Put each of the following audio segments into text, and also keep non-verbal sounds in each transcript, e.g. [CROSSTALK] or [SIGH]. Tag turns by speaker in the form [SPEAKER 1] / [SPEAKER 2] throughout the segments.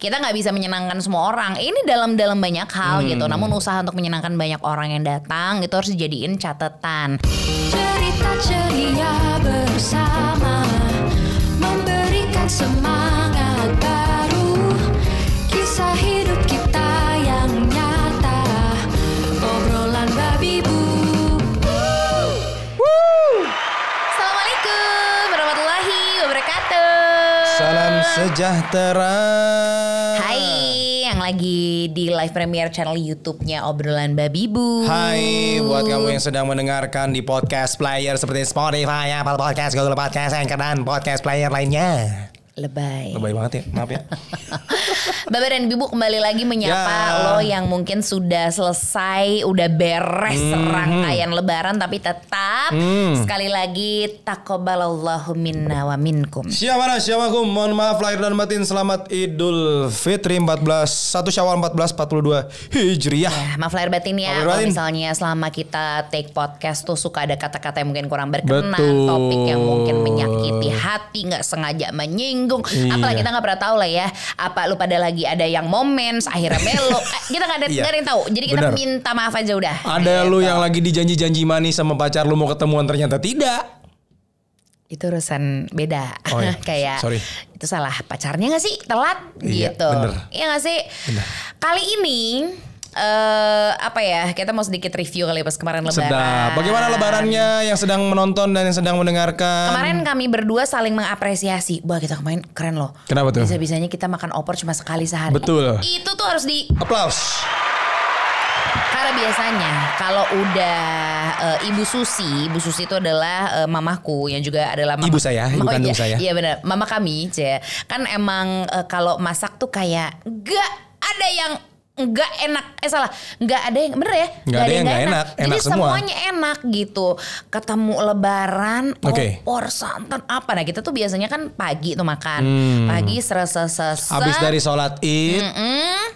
[SPEAKER 1] kita nggak bisa menyenangkan semua orang. Ini dalam-dalam banyak
[SPEAKER 2] Hmm.
[SPEAKER 1] hal gitu. Namun usaha untuk menyenangkan banyak orang yang datang itu harus dijadiin catatan.
[SPEAKER 3] Cerita ceria bersama Memberikan semangat baru Kisah hidup kita yang nyata Obrolan babi bu
[SPEAKER 1] Assalamualaikum warahmatullahi wabarakatuh.
[SPEAKER 2] Salam sejahtera.
[SPEAKER 1] Hai yang lagi di live premiere channel YouTube-nya obrolan Babibu.
[SPEAKER 2] Hai buat kamu yang sedang mendengarkan di podcast player seperti Spotify, Apple Podcast, Google Podcast, Anchor dan podcast player lainnya.
[SPEAKER 1] Lebay.
[SPEAKER 2] Lebay banget ya, maaf ya.
[SPEAKER 1] [LAUGHS] Babe dan Bibu kembali lagi menyapa
[SPEAKER 2] Ya.
[SPEAKER 1] lo yang mungkin sudah selesai, udah beres
[SPEAKER 2] Mhm.
[SPEAKER 1] serangkaian lebaran tapi tetap
[SPEAKER 2] Hmm.
[SPEAKER 1] sekali lagi takobalallahu minna wa minkum.
[SPEAKER 2] Syabana syamakum, mohon maaf lahir dan batin. Selamat Idul Fitri 14 1 Syawal 1442 Hijriah.
[SPEAKER 1] Ya, maaf lahir batin ya.
[SPEAKER 2] Maaf lahir
[SPEAKER 1] Kalau
[SPEAKER 2] batin.
[SPEAKER 1] misalnya selama kita take podcast tuh suka ada kata-kata yang mungkin kurang berkenan,
[SPEAKER 2] Betul.
[SPEAKER 1] topik yang mungkin menyakiti hati, nggak sengaja menyinggung.
[SPEAKER 2] Iya.
[SPEAKER 1] Apalagi kita nggak pernah tahu lah ya. Apa lu pada lagi ada yang moments akhirnya belok. Eh, kita nggak ada
[SPEAKER 2] [LAUGHS] Iya.
[SPEAKER 1] nggak ada yang tahu. Jadi kita
[SPEAKER 2] Benar.
[SPEAKER 1] minta maaf aja udah.
[SPEAKER 2] Ada lu yang lagi dijanji-janji manis sama pacar lu mau ketemuan ternyata tidak.
[SPEAKER 1] Itu urusan beda.
[SPEAKER 2] Oh, iya.
[SPEAKER 1] [LAUGHS] Kayak
[SPEAKER 2] Sorry.
[SPEAKER 1] itu salah pacarnya nggak sih telat
[SPEAKER 2] Iya,
[SPEAKER 1] gitu.
[SPEAKER 2] bener.
[SPEAKER 1] Iya nggak sih. Kali ini. eh apa ya kita mau sedikit review kali ya pas kemarin lebaran.
[SPEAKER 2] Sedap. Bagaimana lebarannya yang sedang menonton dan yang sedang mendengarkan?
[SPEAKER 1] Kemarin kami berdua saling mengapresiasi. Wah kita kemarin keren loh.
[SPEAKER 2] Kenapa tuh?
[SPEAKER 1] Bisa-bisanya kita makan opor cuma sekali sehari.
[SPEAKER 2] Betul.
[SPEAKER 1] Itu tuh harus di...
[SPEAKER 2] Aplaus.
[SPEAKER 1] Karena biasanya kalau udah eh, Ibu Susi, Ibu Susi itu adalah eh, mamaku yang juga adalah mama,
[SPEAKER 2] Ibu saya, ibu
[SPEAKER 1] Oh, iya,
[SPEAKER 2] kandung saya.
[SPEAKER 1] Iya benar, mama kami, Ce. Kan emang eh, kalau masak tuh kayak gak ada yang nggak enak eh salah nggak ada yang bener ya
[SPEAKER 2] Nggak ada
[SPEAKER 1] nggak
[SPEAKER 2] yang nggak enak,
[SPEAKER 1] jadi
[SPEAKER 2] enak semua.
[SPEAKER 1] semuanya enak gitu ketemu lebaran
[SPEAKER 2] Oke.
[SPEAKER 1] opor santan apa nah kita tuh biasanya kan pagi tuh makan pagi Hmm. serasa-sesa
[SPEAKER 2] Hmm. Habis dari sholat id,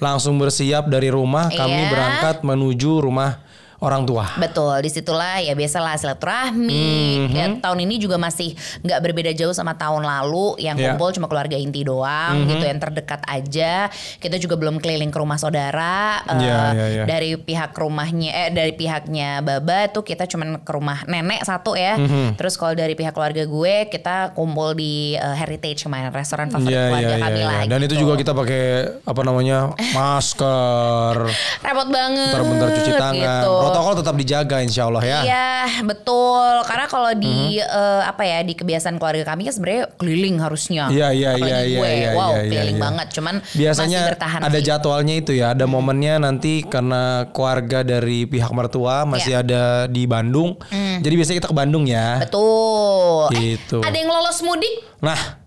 [SPEAKER 2] langsung bersiap dari rumah. Kami
[SPEAKER 1] Iya.
[SPEAKER 2] berangkat menuju rumah orang tua.
[SPEAKER 1] Betul, disitulah ya biasalah silaturahmi.
[SPEAKER 2] Mhm.
[SPEAKER 1] Ya, tahun ini juga masih nggak berbeda jauh sama tahun lalu yang
[SPEAKER 2] Iya.
[SPEAKER 1] kumpul cuma keluarga inti doang
[SPEAKER 2] Mhm.
[SPEAKER 1] gitu yang terdekat aja. Kita juga belum keliling ke rumah saudara. Eh,
[SPEAKER 2] Iya, iya, iya.
[SPEAKER 1] Dari pihak rumahnya, eh dari pihaknya Baba tuh kita cuman ke rumah nenek satu ya.
[SPEAKER 2] Mhm.
[SPEAKER 1] Terus kalau dari pihak keluarga gue kita kumpul di eh, Heritage kemarin restoran favorit
[SPEAKER 2] Iya,
[SPEAKER 1] keluarga
[SPEAKER 2] iya,
[SPEAKER 1] kami
[SPEAKER 2] iya,
[SPEAKER 1] lah.
[SPEAKER 2] iya. Dan itu
[SPEAKER 1] gitu.
[SPEAKER 2] juga kita pakai apa namanya masker.
[SPEAKER 1] repot banget.
[SPEAKER 2] Bentar-bentar cuci tangan.
[SPEAKER 1] gitu.
[SPEAKER 2] Protokol tetap dijaga insya Allah ya. Mhm.
[SPEAKER 1] Iya betul karena kalau di eh, apa ya di kebiasaan keluarga kami kan sebenarnya keliling harusnya.
[SPEAKER 2] Iya, iya,
[SPEAKER 1] Apalagi
[SPEAKER 2] iya,
[SPEAKER 1] gue,
[SPEAKER 2] iya, iya,
[SPEAKER 1] wow
[SPEAKER 2] iya, iya,
[SPEAKER 1] keliling
[SPEAKER 2] iya.
[SPEAKER 1] banget cuman
[SPEAKER 2] Biasanya
[SPEAKER 1] masih bertahan
[SPEAKER 2] ada
[SPEAKER 1] sih.
[SPEAKER 2] jadwalnya itu ya, ada momennya nanti karena keluarga dari pihak mertua
[SPEAKER 1] Iya.
[SPEAKER 2] masih ada di Bandung.
[SPEAKER 1] Mm.
[SPEAKER 2] Jadi biasanya kita ke Bandung ya.
[SPEAKER 1] Betul. Eh,
[SPEAKER 2] Gitu.
[SPEAKER 1] ada yang lolos mudik?
[SPEAKER 2] Nah,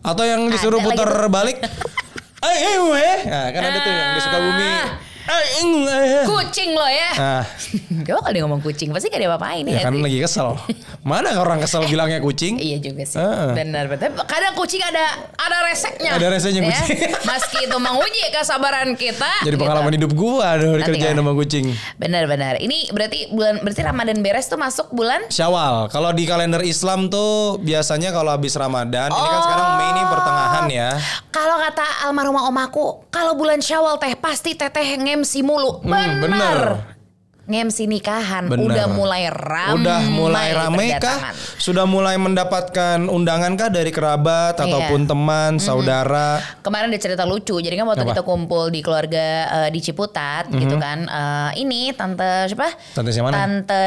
[SPEAKER 2] atau yang disuruh
[SPEAKER 1] Ada lagi
[SPEAKER 2] putar
[SPEAKER 1] tuh.
[SPEAKER 2] balik. Ay, eh, weh. Nah, kan ada tuh yang di Sukabumi.
[SPEAKER 1] Ah.
[SPEAKER 2] Ay, eh, eh.
[SPEAKER 1] Kucing lo ya.
[SPEAKER 2] [LAUGHS] Nah,
[SPEAKER 1] Gak bakal dia ngomong kucing pasti gak ada apa-apain ya.
[SPEAKER 2] ya kan
[SPEAKER 1] sih?
[SPEAKER 2] lagi kesel. Mana orang kesel bilangnya kucing?
[SPEAKER 1] Iya juga sih,
[SPEAKER 2] Heeh.
[SPEAKER 1] benar benar. Tapi Kadang kucing ada ada reseknya.
[SPEAKER 2] Ada reseknya
[SPEAKER 1] Ya.
[SPEAKER 2] kucing.
[SPEAKER 1] [LAUGHS] Meski itu menguji kesabaran kita.
[SPEAKER 2] Jadi
[SPEAKER 1] gitu.
[SPEAKER 2] pengalaman hidup gua aduh
[SPEAKER 1] Nanti
[SPEAKER 2] dikerjain
[SPEAKER 1] ya.
[SPEAKER 2] sama kucing.
[SPEAKER 1] Benar-benar. Ini berarti bulan berarti Ramadan beres tuh masuk bulan
[SPEAKER 2] Syawal. Kalau di kalender Islam tuh biasanya kalau habis Ramadan, ini kan sekarang Mei
[SPEAKER 1] Oh.
[SPEAKER 2] ini pertengahan ya.
[SPEAKER 1] Kalau kata almarhumah omaku, kalau bulan Syawal teh pasti teteh ngemsi mulu.
[SPEAKER 2] Hmm,
[SPEAKER 1] Bener.
[SPEAKER 2] bener.
[SPEAKER 1] Ngemsi nikahan
[SPEAKER 2] Bener.
[SPEAKER 1] udah mulai ramai.
[SPEAKER 2] Udah mulai rame kah?
[SPEAKER 1] berdatangan.
[SPEAKER 2] Sudah mulai mendapatkan undangan kah dari kerabat
[SPEAKER 1] Iya.
[SPEAKER 2] ataupun teman, saudara?
[SPEAKER 1] Kemarin ada cerita lucu. Jadi kan waktu
[SPEAKER 2] Apa? Mhm.
[SPEAKER 1] kita kumpul di keluarga eh, di Ciputat gitu kan. Eh, ini tante siapa?
[SPEAKER 2] Tante siapa mana?
[SPEAKER 1] Tante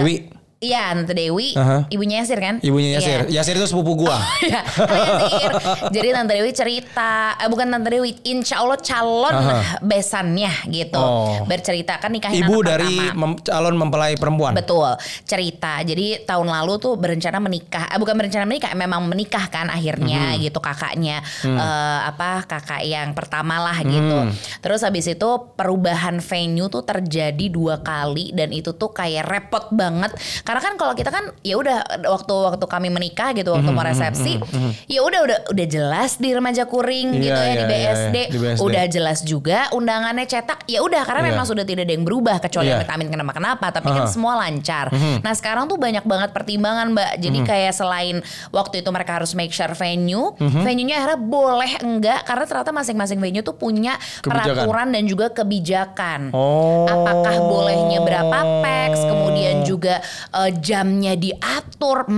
[SPEAKER 2] Dewi.
[SPEAKER 1] Iya, Tante Dewi.
[SPEAKER 2] Aha.
[SPEAKER 1] Ibunya Yasir kan? Iya.
[SPEAKER 2] Ibunya Yasir. Yasir itu sepupu gua.
[SPEAKER 1] [LAUGHS] Ya, Tante Yasir. Jadi Tante Dewi cerita, eh, bukan Tante Dewi, insya Allah calon
[SPEAKER 2] Aha.
[SPEAKER 1] besannya gitu.
[SPEAKER 2] Oh.
[SPEAKER 1] Bercerita kan nikahin anak
[SPEAKER 2] Ibu dari
[SPEAKER 1] pertama.
[SPEAKER 2] mem- calon mempelai perempuan.
[SPEAKER 1] Betul, cerita. Jadi tahun lalu tuh berencana menikah, eh, bukan berencana menikah, memang menikah kan
[SPEAKER 2] Mm-hmm.
[SPEAKER 1] akhirnya gitu kakaknya
[SPEAKER 2] Mm.
[SPEAKER 1] Eh, apa kakak yang pertama lah gitu. Terus habis itu perubahan venue tuh terjadi dua kali dan itu tuh kayak repot banget karena Karena kan kalau kita kan ya udah waktu waktu kami menikah gitu
[SPEAKER 2] Mm-hmm,
[SPEAKER 1] waktu mau resepsi ya udah udah udah jelas di remaja kuring gitu ya
[SPEAKER 2] Iya, iya,
[SPEAKER 1] di,
[SPEAKER 2] iya, iya.
[SPEAKER 1] BSD.
[SPEAKER 2] Di BSD.
[SPEAKER 1] udah jelas juga undangannya cetak ya udah karena
[SPEAKER 2] Iya.
[SPEAKER 1] memang sudah tidak ada yang berubah kecuali
[SPEAKER 2] Iya.
[SPEAKER 1] vitamin kenapa kenapa tapi kan
[SPEAKER 2] Aha.
[SPEAKER 1] semua lancar.
[SPEAKER 2] Mhm.
[SPEAKER 1] Nah sekarang tuh banyak banget pertimbangan mbak. Jadi kayak selain waktu itu mereka harus make sure venue,
[SPEAKER 2] Mhm.
[SPEAKER 1] venue-nya akhirnya boleh enggak karena ternyata masing-masing venue tuh punya
[SPEAKER 2] Kebijakan.
[SPEAKER 1] peraturan dan juga kebijakan.
[SPEAKER 2] Oh.
[SPEAKER 1] Apakah bolehnya berapa packs, kemudian juga eh, jamnya diatur,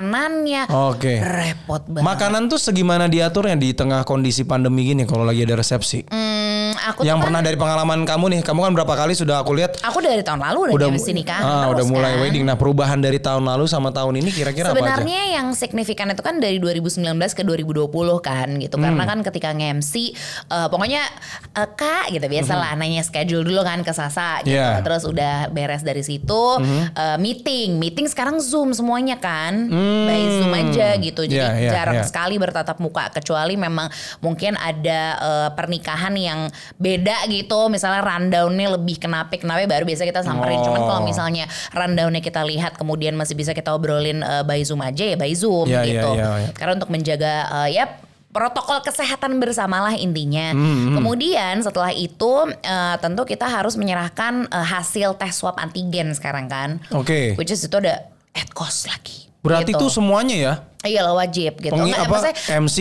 [SPEAKER 1] makanannya.
[SPEAKER 2] Oke.
[SPEAKER 1] Repot banget.
[SPEAKER 2] Makanan tuh segimana diaturnya di tengah kondisi pandemi gini kalau lagi ada resepsi?
[SPEAKER 1] Hmm, aku tuh
[SPEAKER 2] yang
[SPEAKER 1] kan-
[SPEAKER 2] pernah dari pengalaman kamu nih, kamu kan berapa kali sudah aku lihat
[SPEAKER 1] aku dari tahun lalu udah,
[SPEAKER 2] udah
[SPEAKER 1] di sini kan.
[SPEAKER 2] Ah, udah mulai
[SPEAKER 1] kan.
[SPEAKER 2] wedding. Nah, perubahan dari tahun lalu sama tahun ini kira-kira apa aja?
[SPEAKER 1] Sebenarnya yang signifikan itu kan dari 2019 ke 2020 kan gitu.
[SPEAKER 2] Hmm.
[SPEAKER 1] Karena kan ketika nge-MC eh, pokoknya eh, Kak gitu biasalah nanya schedule dulu kan ke Sasa gitu.
[SPEAKER 2] Hmm. Yeah. Hmm.
[SPEAKER 1] Terus udah beres dari situ eh, meeting. Meeting sekarang Zoom semuanya kan. By Zoom aja gitu. Jadi
[SPEAKER 2] Hmm. Yeah, yeah,
[SPEAKER 1] jarang
[SPEAKER 2] yeah.
[SPEAKER 1] sekali bertatap muka kecuali memang mungkin ada eh, pernikahan yang beda gitu. Misalnya rundownnya lebih kenapa kenapa baru biasa kita samperin. Cuman
[SPEAKER 2] Oh.
[SPEAKER 1] kalau misalnya misalnya rundownnya kita lihat kemudian masih bisa kita obrolin eh, by Zoom aja ya by Zoom
[SPEAKER 2] Ya,
[SPEAKER 1] gitu.
[SPEAKER 2] ya, ya, ya.
[SPEAKER 1] Karena untuk menjaga eh, ya protokol kesehatan bersamalah intinya.
[SPEAKER 2] Hmm,
[SPEAKER 1] Kemudian setelah itu eh, tentu kita harus menyerahkan eh, hasil tes swab antigen sekarang kan.
[SPEAKER 2] Oke.
[SPEAKER 1] Which is itu ada at cost lagi.
[SPEAKER 2] Berarti
[SPEAKER 1] gitu.
[SPEAKER 2] tuh semuanya ya.
[SPEAKER 1] Iyalah wajib gitu.
[SPEAKER 2] Pengi,
[SPEAKER 1] Nggak,
[SPEAKER 2] apa
[SPEAKER 1] maksudnya
[SPEAKER 2] MC?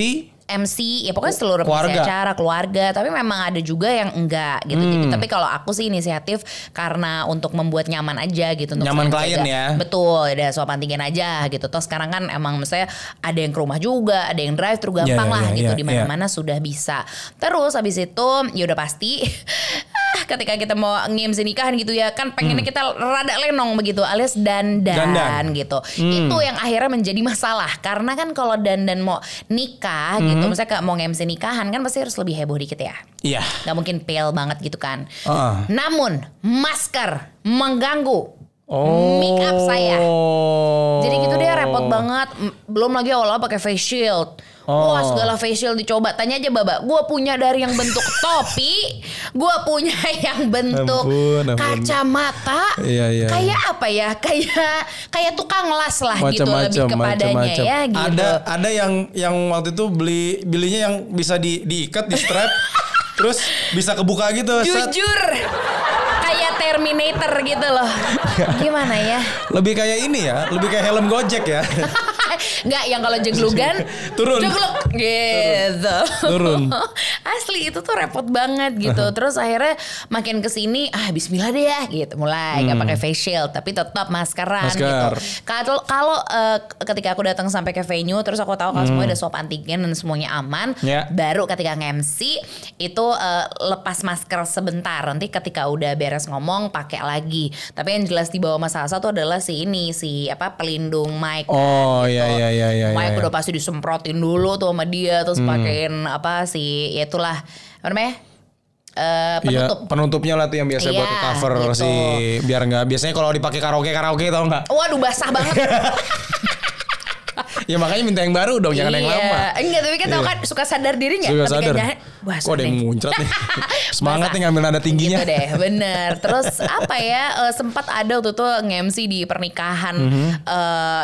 [SPEAKER 1] MC ya pokoknya seluruh
[SPEAKER 2] Keluarga.
[SPEAKER 1] keluarga. acara keluarga tapi memang ada juga yang enggak gitu jadi
[SPEAKER 2] Hmm.
[SPEAKER 1] tapi kalau aku sih inisiatif karena untuk membuat nyaman aja gitu untuk
[SPEAKER 2] Nyaman
[SPEAKER 1] saling
[SPEAKER 2] klien
[SPEAKER 1] jaga.
[SPEAKER 2] ya.
[SPEAKER 1] betul ada swab antigen aja gitu toh sekarang kan emang misalnya ada yang ke rumah juga ada yang drive terus gampang
[SPEAKER 2] ya,
[SPEAKER 1] lah
[SPEAKER 2] ya,
[SPEAKER 1] gitu
[SPEAKER 2] ya,
[SPEAKER 1] di mana-mana sudah bisa terus habis itu ya udah pasti [LAUGHS] ah, ketika kita mau ngemsi nikahan gitu ya kan pengennya kita rada lenong begitu alias dandan,
[SPEAKER 2] Dandan.
[SPEAKER 1] gitu itu yang akhirnya menjadi masalah karena kan kalau dandan mau nikah gitu misalnya kayak mau ngemsi nikahan kan pasti harus lebih heboh dikit ya
[SPEAKER 2] Iya.
[SPEAKER 1] nggak mungkin pale banget gitu kan
[SPEAKER 2] Ah.
[SPEAKER 1] namun masker mengganggu
[SPEAKER 2] Oh.
[SPEAKER 1] Make up saya. jadi gitu dia repot banget. M- Belum lagi awal pakai face shield.
[SPEAKER 2] Oh.
[SPEAKER 1] Wah segala face shield dicoba. Tanya aja Baba. Gue punya dari yang
[SPEAKER 2] [LAUGHS]
[SPEAKER 1] bentuk topi. Gue punya yang bentuk
[SPEAKER 2] Ampun, ampun.
[SPEAKER 1] kacamata.
[SPEAKER 2] Iya, iya,
[SPEAKER 1] Kayak apa ya? Kayak kayak tukang las lah gitu. Lebih
[SPEAKER 2] Macam-macam,
[SPEAKER 1] kepadanya
[SPEAKER 2] macam-macam.
[SPEAKER 1] ya gitu.
[SPEAKER 2] Ada ada yang yang waktu itu beli belinya yang bisa di diikat di strap,
[SPEAKER 1] [LAUGHS]
[SPEAKER 2] terus bisa kebuka gitu. set.
[SPEAKER 1] Jujur. kayak Terminator gitu loh.
[SPEAKER 2] [LAUGHS] Iya.
[SPEAKER 1] Gimana ya?
[SPEAKER 2] Lebih kayak ini ya, lebih kayak helm gojek
[SPEAKER 1] [LAUGHS]
[SPEAKER 2] ya.
[SPEAKER 1] Enggak yang kalau jeglugan
[SPEAKER 2] [LAUGHS] Turun.
[SPEAKER 1] Jegluk gitu.
[SPEAKER 2] Turun.
[SPEAKER 1] [LAUGHS]
[SPEAKER 2] Uh-huh.
[SPEAKER 1] Asli itu tuh repot banget gitu. Terus akhirnya makin ke sini ah bismillah deh ya gitu. Mulai nggak pakai face shield tapi tetap maskeran gitu.
[SPEAKER 2] Hmm. Masker.
[SPEAKER 1] Kalau kalau eh, ketika aku datang sampai ke venue terus aku tahu kalau semua ada swab antigen dan semuanya aman,
[SPEAKER 2] Hmm. Ya.
[SPEAKER 1] baru ketika nge-MC itu eh, lepas masker sebentar. Nanti ketika udah beres ngomong pakai lagi. Tapi yang jelas di bawah masalah satu adalah si ini si apa pelindung mic
[SPEAKER 2] Oh iya iya iya iya.
[SPEAKER 1] Mike
[SPEAKER 2] iya.
[SPEAKER 1] Gitu.
[SPEAKER 2] Hmm.
[SPEAKER 1] udah pasti disemprotin dulu tuh sama dia terus pakein apa sih ya itulah apa namanya Eh,
[SPEAKER 2] Iya,
[SPEAKER 1] penutup.
[SPEAKER 2] penutupnya lah tuh yang biasa buat
[SPEAKER 1] Iya,
[SPEAKER 2] cover
[SPEAKER 1] gitu.
[SPEAKER 2] sih biar nggak biasanya kalau dipakai karaoke karaoke tau nggak?
[SPEAKER 1] Waduh basah banget.
[SPEAKER 2] Ya makanya minta yang baru dong, jangan yang
[SPEAKER 1] Iya.
[SPEAKER 2] lama.
[SPEAKER 1] Enggak tapi kan tau
[SPEAKER 2] Iya.
[SPEAKER 1] kan suka sadar kan diri nggak?
[SPEAKER 2] Juga
[SPEAKER 1] Ketika
[SPEAKER 2] sadar.
[SPEAKER 1] jalan, basah
[SPEAKER 2] Kok ada yang
[SPEAKER 1] nih.
[SPEAKER 2] muncrat
[SPEAKER 1] [LAUGHS]
[SPEAKER 2] nih? Semangat
[SPEAKER 1] Basah.
[SPEAKER 2] nih ngambil nada tingginya.
[SPEAKER 1] Gitu deh, bener. Terus apa ya? eh, sempat ada waktu itu nge-MC di pernikahan.
[SPEAKER 2] Mm-hmm.
[SPEAKER 1] Eh,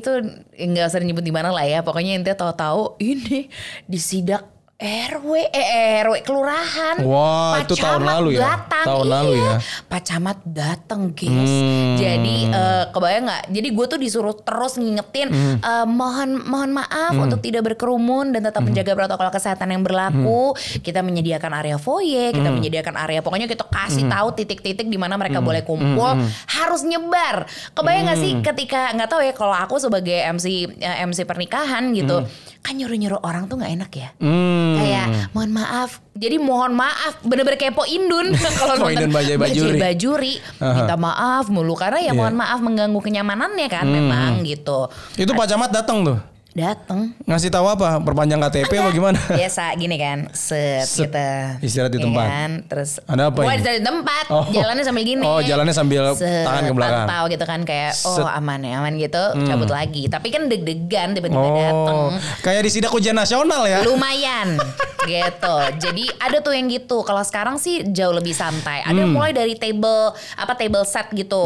[SPEAKER 1] itu nggak usah nyebut di mana lah ya. Pokoknya intinya tahu-tahu ini disidak RW, eh, RW kelurahan.
[SPEAKER 2] Wah, itu tahun
[SPEAKER 1] Camat
[SPEAKER 2] lalu ya?
[SPEAKER 1] datang.
[SPEAKER 2] Tahun lalu
[SPEAKER 1] Iya,
[SPEAKER 2] ya?
[SPEAKER 1] Pak Camat datang, guys.
[SPEAKER 2] Hmm.
[SPEAKER 1] Jadi eh, kebayang nggak? Jadi gue tuh disuruh terus ngingetin
[SPEAKER 2] Hmm.
[SPEAKER 1] eh, mohon mohon maaf untuk tidak berkerumun dan
[SPEAKER 2] Hmm.
[SPEAKER 1] tetap menjaga protokol kesehatan yang berlaku. Kita menyediakan area foyer, kita
[SPEAKER 2] Hmm.
[SPEAKER 1] menyediakan area. Pokoknya kita kasih tahu titik-titik di mana mereka boleh
[SPEAKER 2] Hmm.
[SPEAKER 1] kumpul. Harus nyebar. Kebayang nggak sih ketika nggak tahu ya kalau aku sebagai MC eh, MC pernikahan gitu kan nyuruh nyuruh orang tuh nggak enak ya.
[SPEAKER 2] Hmm.
[SPEAKER 1] Kayak mohon maaf. Jadi mohon maaf bener-bener kepo
[SPEAKER 2] [LAUGHS]
[SPEAKER 1] Indun Kan kalau
[SPEAKER 2] Kepo
[SPEAKER 1] nonton
[SPEAKER 2] Indun Bajai Bajuri. Iya.
[SPEAKER 1] Bajuri. Minta maaf
[SPEAKER 2] Hmm.
[SPEAKER 1] mulu karena ya mohon maaf mengganggu kenyamanannya kan memang gitu.
[SPEAKER 2] Itu Pak Camat datang tuh.
[SPEAKER 1] dateng
[SPEAKER 2] [LAUGHS] Ngasih tahu apa? Perpanjang KTP apa gimana? [LAUGHS]
[SPEAKER 1] biasa gini kan set,
[SPEAKER 2] Set.
[SPEAKER 1] kita
[SPEAKER 2] Istirahat di
[SPEAKER 1] Iya
[SPEAKER 2] tempat.
[SPEAKER 1] kan? terus
[SPEAKER 2] Ada apa
[SPEAKER 1] Gua
[SPEAKER 2] ini?
[SPEAKER 1] istirahat di tempat
[SPEAKER 2] Oh.
[SPEAKER 1] jalannya sambil gini
[SPEAKER 2] Oh, jalannya sambil
[SPEAKER 1] Set,
[SPEAKER 2] tangan ke belakang.
[SPEAKER 1] pantau gitu kan kayak oh
[SPEAKER 2] Set. Hmm.
[SPEAKER 1] aman ya aman gitu cabut lagi tapi kan deg-degan tiba-tiba dateng
[SPEAKER 2] Oh, kayak di sidak ujian nasional ya?
[SPEAKER 1] lumayan gitu jadi ada tuh yang gitu kalau sekarang sih jauh lebih santai ada
[SPEAKER 2] Hmm.
[SPEAKER 1] yang mulai dari table apa table set gitu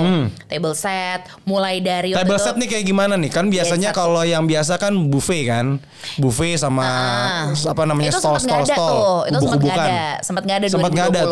[SPEAKER 1] table set mulai dari waktu
[SPEAKER 2] Table
[SPEAKER 1] itu-
[SPEAKER 2] set nih kayak gimana nih?
[SPEAKER 1] Iya,
[SPEAKER 2] Kan biasanya
[SPEAKER 1] Biasa.
[SPEAKER 2] kalau yang biasa kan buffet kan, buffet sama
[SPEAKER 1] Ah.
[SPEAKER 2] apa namanya
[SPEAKER 1] itu
[SPEAKER 2] stall
[SPEAKER 1] sempet nggak ada
[SPEAKER 2] stall stall,
[SPEAKER 1] tuh itu sempat nggak
[SPEAKER 2] ubuk-ubukan.
[SPEAKER 1] ada sempat nggak ada
[SPEAKER 2] Sempet nggak ada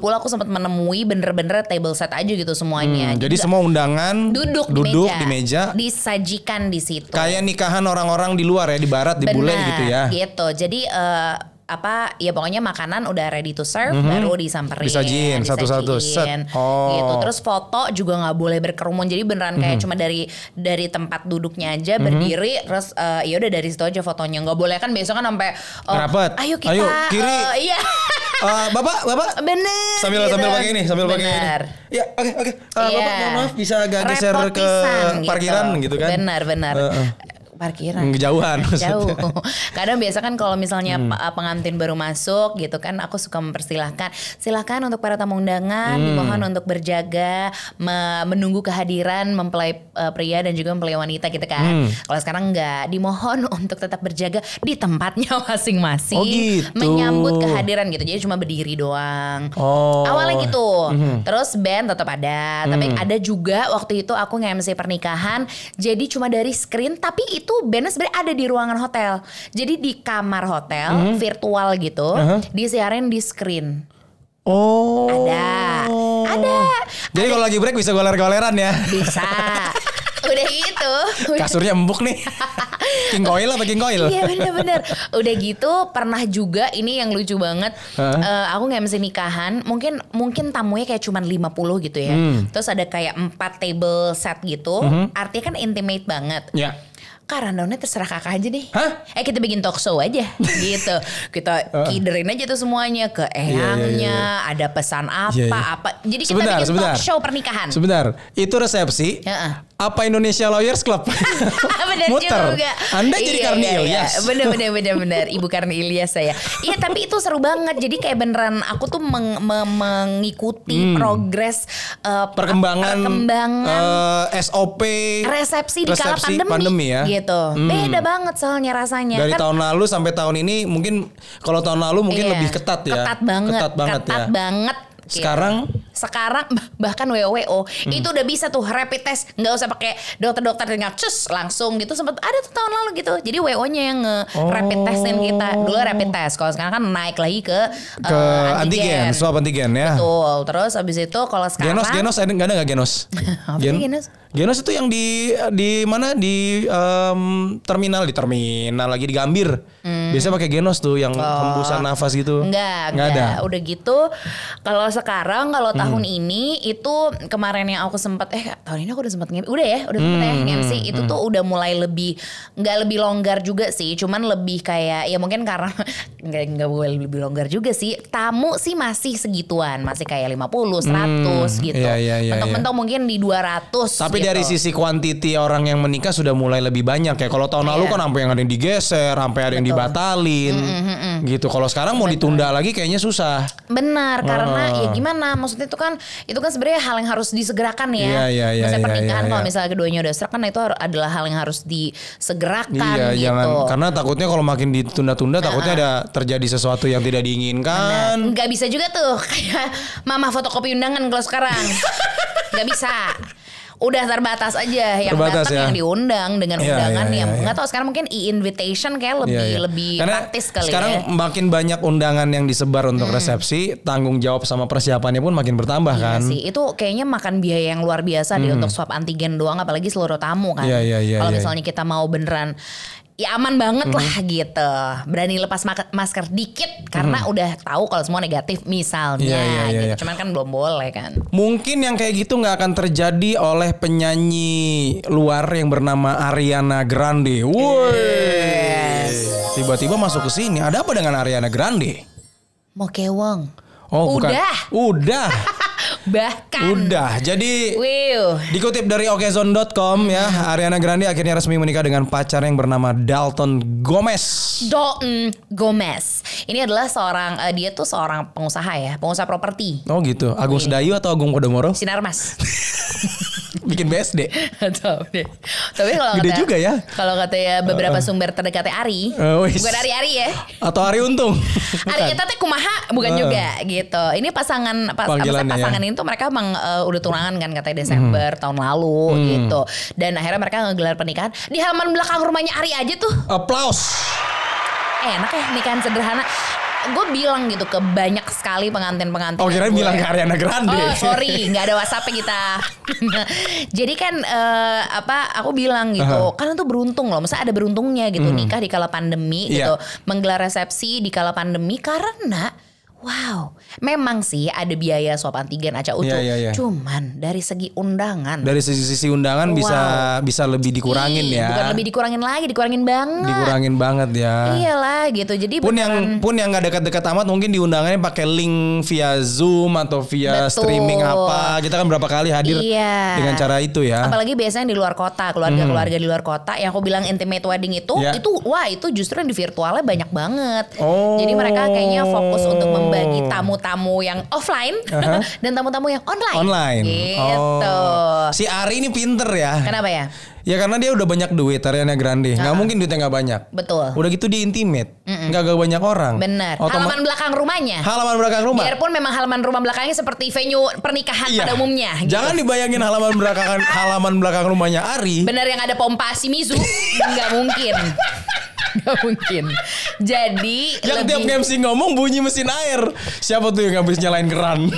[SPEAKER 1] 2020 2020 aku sempat menemui bener-bener table set aja gitu semuanya
[SPEAKER 2] Hmm, jadi semua undangan
[SPEAKER 1] duduk,
[SPEAKER 2] duduk
[SPEAKER 1] di, meja, disajikan di situ
[SPEAKER 2] kayak nikahan orang-orang di luar ya, di barat, di bule
[SPEAKER 1] Benar,
[SPEAKER 2] gitu ya.
[SPEAKER 1] gitu. Jadi eh, apa ya pokoknya makanan udah ready to serve baru disamperin
[SPEAKER 2] Disajin, Mhm. satu-satu, set.
[SPEAKER 1] disajiin,
[SPEAKER 2] Oh. Mhm.
[SPEAKER 1] gitu terus foto juga nggak boleh berkerumun jadi beneran kayak cuma dari dari tempat duduknya aja berdiri terus eh, ya udah dari situ aja fotonya nggak boleh kan besok kan sampai eh,
[SPEAKER 2] Rapat.
[SPEAKER 1] ayo kita
[SPEAKER 2] Ayo, kiri.
[SPEAKER 1] eh,
[SPEAKER 2] [LAUGHS]
[SPEAKER 1] iya
[SPEAKER 2] Eh, bapak, bapak,
[SPEAKER 1] bener
[SPEAKER 2] sambil
[SPEAKER 1] gitu.
[SPEAKER 2] sambil pakai ini, sambil pakai ini.
[SPEAKER 1] Benar.
[SPEAKER 2] Ya, oke, oke. Eh,
[SPEAKER 1] Iya.
[SPEAKER 2] Bapak, mohon maaf bisa agak geser
[SPEAKER 1] Repot
[SPEAKER 2] ke
[SPEAKER 1] pisan
[SPEAKER 2] parkiran gitu kan?
[SPEAKER 1] Benar, benar.
[SPEAKER 2] Eh, eh.
[SPEAKER 1] Parkiran.
[SPEAKER 2] Kejauhan
[SPEAKER 1] Nah, Jauh.
[SPEAKER 2] Iya,
[SPEAKER 1] [LAUGHS]
[SPEAKER 2] maksudnya. Hmm.
[SPEAKER 1] Kadang biasa kan kalau misalnya pa- pengantin baru masuk gitu kan aku suka mempersilahkan. Silahkan untuk para tamu undangan
[SPEAKER 2] Hmm.
[SPEAKER 1] dimohon untuk berjaga me- menunggu kehadiran mempelai eh, pria dan juga mempelai wanita gitu
[SPEAKER 2] Hmm.
[SPEAKER 1] kan. Kalau sekarang enggak dimohon [LAUGHS] untuk tetap berjaga di tempatnya [LAUGHS] masing-masing
[SPEAKER 2] Oh, gitu.
[SPEAKER 1] menyambut kehadiran gitu. Jadi cuma berdiri doang.
[SPEAKER 2] Oh.
[SPEAKER 1] Awalnya gitu. Terus band tetap ada, tapi ada juga waktu itu aku nge-MC pernikahan. Jadi cuma dari screen, tapi itu bandnya sebenarnya ada di ruangan hotel. Jadi di kamar hotel virtual gitu, disiarin di screen.
[SPEAKER 2] Oh.
[SPEAKER 1] Ada. Ada.
[SPEAKER 2] Jadi kalau lagi break bisa goler-goleran
[SPEAKER 1] [LAUGHS]
[SPEAKER 2] ya.
[SPEAKER 1] Bisa. Udah gitu. Udah
[SPEAKER 2] Kasurnya empuk
[SPEAKER 1] [LAUGHS]
[SPEAKER 2] nih. King Coil apa King Coil?
[SPEAKER 1] Iya bener-bener Udah gitu pernah juga ini yang lucu banget
[SPEAKER 2] Heeh.
[SPEAKER 1] Eh, Aku gak mesti nikahan Mungkin mungkin tamunya kayak cuman 50 gitu ya
[SPEAKER 2] Hmm.
[SPEAKER 1] Terus ada kayak 4 table set gitu Artinya kan intimate banget
[SPEAKER 2] Ya.
[SPEAKER 1] Karena terserah kakak aja deh
[SPEAKER 2] Hah?
[SPEAKER 1] Eh kita bikin talk show
[SPEAKER 2] [LAUGHS]
[SPEAKER 1] aja gitu Kita kiderin aja tuh semuanya Ke eyangnya Ada pesan apa
[SPEAKER 2] Iya, iya.
[SPEAKER 1] apa Jadi kita
[SPEAKER 2] Sebentar,
[SPEAKER 1] bikin
[SPEAKER 2] sebentar.
[SPEAKER 1] talk show pernikahan
[SPEAKER 2] Sebentar, itu resepsi.
[SPEAKER 1] Heeh.
[SPEAKER 2] Apa Indonesia Lawyers
[SPEAKER 1] [LAUGHS]
[SPEAKER 2] Club?
[SPEAKER 1] bener juga.
[SPEAKER 2] Anda jadi
[SPEAKER 1] Iya,
[SPEAKER 2] Karni
[SPEAKER 1] iya, iya.
[SPEAKER 2] Ilyas.
[SPEAKER 1] Bener
[SPEAKER 2] [LAUGHS]
[SPEAKER 1] bener bener bener. Ibu Karni Ilyas saya. Iya tapi itu seru banget. Jadi kayak beneran aku tuh meng- me- mengikuti progres eh,
[SPEAKER 2] Hmm. Perkembangan,
[SPEAKER 1] perkembangan
[SPEAKER 2] eh, SOP
[SPEAKER 1] resepsi di kala
[SPEAKER 2] resepsi
[SPEAKER 1] pandemi,
[SPEAKER 2] ya.
[SPEAKER 1] gitu. Beda banget soalnya rasanya.
[SPEAKER 2] Dari
[SPEAKER 1] Kan
[SPEAKER 2] tahun lalu sampai tahun ini mungkin kalau tahun lalu mungkin
[SPEAKER 1] Iya.
[SPEAKER 2] lebih ketat ya.
[SPEAKER 1] Ketat banget.
[SPEAKER 2] Ketat banget
[SPEAKER 1] ketat
[SPEAKER 2] ya.
[SPEAKER 1] banget, gitu.
[SPEAKER 2] Sekarang?
[SPEAKER 1] sekarang bah- bahkan WWO
[SPEAKER 2] Hmm.
[SPEAKER 1] itu udah bisa tuh rapid test nggak usah pakai dokter-dokter tinggal cus langsung gitu sempet ada tuh tahun lalu gitu jadi WO-nya yang nge
[SPEAKER 2] Oh.
[SPEAKER 1] rapid testin kita dulu rapid test kalau sekarang kan naik lagi ke
[SPEAKER 2] Ke
[SPEAKER 1] eh,
[SPEAKER 2] antigen, swab antigen ya.
[SPEAKER 1] Betul. terus abis itu kalau sekarang
[SPEAKER 2] Genos, genos, ada nggak ada nggak genos?
[SPEAKER 1] [LAUGHS] Apa sih genos?
[SPEAKER 2] Genos itu yang di di mana di em, terminal di terminal lagi di Gambir.
[SPEAKER 1] Hmm.
[SPEAKER 2] Biasanya pakai genos tuh yang hembusan nafas gitu.
[SPEAKER 1] Enggak,
[SPEAKER 2] nggak
[SPEAKER 1] enggak,
[SPEAKER 2] ada.
[SPEAKER 1] Oh.
[SPEAKER 2] Hmm.
[SPEAKER 1] Udah gitu kalau sekarang kalau tahun ini itu kemarin yang aku sempat eh tahun ini aku udah sempat nge udah ya, udah sempet
[SPEAKER 2] Hmm,
[SPEAKER 1] ya nge-MC. itu tuh udah mulai lebih nggak lebih longgar juga sih, cuman lebih kayak ya mungkin karena [LAUGHS] nggak nggak boleh lebih longgar juga sih. Tamu sih masih segituan, masih kayak 50, 100 gitu.
[SPEAKER 2] iya, iya, iya,
[SPEAKER 1] Mentok-mentok mungkin di 200
[SPEAKER 2] Tapi
[SPEAKER 1] gitu.
[SPEAKER 2] dari sisi quantity orang yang menikah sudah mulai lebih banyak ya. Kalau tahun lalu
[SPEAKER 1] Iya.
[SPEAKER 2] kan sampai yang ada yang digeser, sampai ada yang dibatalin. Gitu. Kalau sekarang mau ditunda lagi kayaknya susah.
[SPEAKER 1] Benar, karena
[SPEAKER 2] Ah.
[SPEAKER 1] ya gimana? Maksudnya itu kan itu kan sebenarnya hal yang harus disegerakan ya.
[SPEAKER 2] Iya, iya, iya,
[SPEAKER 1] misalnya
[SPEAKER 2] iya,
[SPEAKER 1] pernikahan
[SPEAKER 2] iya,
[SPEAKER 1] kalau
[SPEAKER 2] iya.
[SPEAKER 1] misalnya keduanya udah serak kan itu har- adalah hal yang harus disegerakan
[SPEAKER 2] Iya,
[SPEAKER 1] gitu.
[SPEAKER 2] jangan karena takutnya kalau makin ditunda-tunda takutnya ada terjadi sesuatu yang tidak
[SPEAKER 1] Nah,
[SPEAKER 2] diinginkan.
[SPEAKER 1] nggak bisa juga tuh [LAUGHS] kayak mama fotokopi undangan kalau
[SPEAKER 2] [LAUGHS]
[SPEAKER 1] sekarang. nggak bisa. Udah terbatas aja yang
[SPEAKER 2] Terbatas
[SPEAKER 1] datang
[SPEAKER 2] ya.
[SPEAKER 1] yang diundang dengan
[SPEAKER 2] Iya,
[SPEAKER 1] undangan
[SPEAKER 2] iya,
[SPEAKER 1] yang
[SPEAKER 2] iya,
[SPEAKER 1] nggak tahu sekarang mungkin e-invitation kayak lebih
[SPEAKER 2] Iya, iya.
[SPEAKER 1] lebih
[SPEAKER 2] Karena
[SPEAKER 1] praktis kali
[SPEAKER 2] sekarang
[SPEAKER 1] ya. Hmm.
[SPEAKER 2] makin banyak undangan yang disebar untuk resepsi, tanggung jawab sama persiapannya pun makin bertambah
[SPEAKER 1] Iya
[SPEAKER 2] kan. Hmm.
[SPEAKER 1] sih, itu kayaknya makan biaya yang luar biasa deh untuk swab antigen doang apalagi seluruh tamu kan.
[SPEAKER 2] Iya, iya, iya,
[SPEAKER 1] Kalau
[SPEAKER 2] iya. Hmm.
[SPEAKER 1] misalnya kita mau beneran ya aman banget lah gitu. Berani lepas mak- masker dikit karena udah tahu kalau semua negatif misalnya
[SPEAKER 2] Hmm. Iya, iya, iya,
[SPEAKER 1] gitu.
[SPEAKER 2] iya.
[SPEAKER 1] Cuman kan belum boleh kan.
[SPEAKER 2] Mungkin yang kayak gitu nggak akan terjadi oleh penyanyi luar yang bernama Ariana Grande. Woi. Tiba-tiba masuk ke sini. Ada apa dengan Ariana Grande?
[SPEAKER 1] Mau kewong. [LAUGHS]
[SPEAKER 2] Oh, bukan.
[SPEAKER 1] udah.
[SPEAKER 2] Udah.
[SPEAKER 1] bahkan
[SPEAKER 2] Udah, jadi
[SPEAKER 1] Wiu.
[SPEAKER 2] Dikutip dari okezone.com ya, Ariana Grande akhirnya resmi menikah dengan pacar yang bernama Dalton Gomez.
[SPEAKER 1] Dalton Gomez. Ini adalah seorang eh, dia tuh seorang pengusaha ya, pengusaha properti.
[SPEAKER 2] Oh gitu, Agung
[SPEAKER 1] Iya.
[SPEAKER 2] Sedayu atau Agung Podomoro?
[SPEAKER 1] Sinarmas.
[SPEAKER 2] Bikin BSD.
[SPEAKER 1] Tahu deh. [LAUGHS] Tapi kalau
[SPEAKER 2] Gede juga ya.
[SPEAKER 1] Kalau kata ya beberapa sumber terdekatnya Ari,
[SPEAKER 2] Eh, wis.
[SPEAKER 1] bukan Ari-Ari ya.
[SPEAKER 2] Atau Ari Untung.
[SPEAKER 1] Ari kita teh kumaha bukan
[SPEAKER 2] Eh.
[SPEAKER 1] juga gitu. Ini pasangan pas, apa sih,
[SPEAKER 2] Panggilannya, ya. Hmm.
[SPEAKER 1] pasangan ini tuh mereka emang eh, udah tunangan kan katanya Desember tahun lalu gitu. Dan akhirnya mereka ngegelar pernikahan di halaman belakang rumahnya Ari aja tuh.
[SPEAKER 2] Applause.
[SPEAKER 1] enak ya nikahan sederhana. Gue bilang gitu ke banyak sekali pengantin-pengantin.
[SPEAKER 2] Oh kirain
[SPEAKER 1] gue.
[SPEAKER 2] bilang ke Ariana Grande.
[SPEAKER 1] Iya. Oh sorry, nggak ada WhatsApp kita. [LAUGHS] Jadi kan eh, apa? Aku bilang gitu,
[SPEAKER 2] Aha. Hmm.
[SPEAKER 1] kalian tuh beruntung loh. Masa ada beruntungnya gitu nikah di kala pandemi
[SPEAKER 2] Iya.
[SPEAKER 1] gitu, menggelar resepsi di kala pandemi karena wow, memang sih ada biaya swab antigen aca ucu.
[SPEAKER 2] Iya, iya, iya.
[SPEAKER 1] Cuman dari segi undangan.
[SPEAKER 2] Dari sisi-sisi undangan bisa bisa lebih dikurangin
[SPEAKER 1] Ih,
[SPEAKER 2] ya.
[SPEAKER 1] Bukan lebih dikurangin lagi, dikurangin banget.
[SPEAKER 2] dikurangin banget ya.
[SPEAKER 1] Iyalah gitu. Jadi
[SPEAKER 2] Pun
[SPEAKER 1] beneran-
[SPEAKER 2] yang pun yang nggak dekat-dekat amat mungkin diundangannya pakai link via Zoom atau via
[SPEAKER 1] Betul.
[SPEAKER 2] streaming apa. Kita kan berapa kali hadir
[SPEAKER 1] Iya.
[SPEAKER 2] dengan cara itu ya.
[SPEAKER 1] Apalagi biasanya di luar kota, keluarga-keluarga di luar kota yang aku bilang intimate wedding itu
[SPEAKER 2] Hmm. Ya.
[SPEAKER 1] itu wah itu justru yang di virtualnya banyak banget.
[SPEAKER 2] Oh.
[SPEAKER 1] Jadi mereka kayaknya fokus untuk membagi tamu-tamu yang offline [LAUGHS] dan tamu-tamu yang online.
[SPEAKER 2] Online.
[SPEAKER 1] Gitu.
[SPEAKER 2] Oh. Si Ari ini pinter ya.
[SPEAKER 1] Kenapa ya?
[SPEAKER 2] Ya karena dia udah banyak duit Ariana Grande. Nggak mungkin duitnya nggak banyak.
[SPEAKER 1] Betul.
[SPEAKER 2] Udah gitu dia intimate. Nggak gak banyak orang.
[SPEAKER 1] Benar.
[SPEAKER 2] Halaman,
[SPEAKER 1] Halaman belakang rumahnya.
[SPEAKER 2] halaman belakang rumah.
[SPEAKER 1] Biarpun memang halaman rumah belakangnya seperti venue pernikahan
[SPEAKER 2] Iya.
[SPEAKER 1] pada umumnya. gitu.
[SPEAKER 2] Jangan dibayangin halaman belakang
[SPEAKER 1] [LAUGHS]
[SPEAKER 2] halaman belakang rumahnya Ari.
[SPEAKER 1] Bener yang ada pompa
[SPEAKER 2] [LAUGHS]
[SPEAKER 1] Shimizu nggak mungkin. Nggak mungkin. Jadi
[SPEAKER 2] yang tiap
[SPEAKER 1] lebih-
[SPEAKER 2] MC ngomong bunyi mesin air. Siapa tuh yang habis nyalain keran?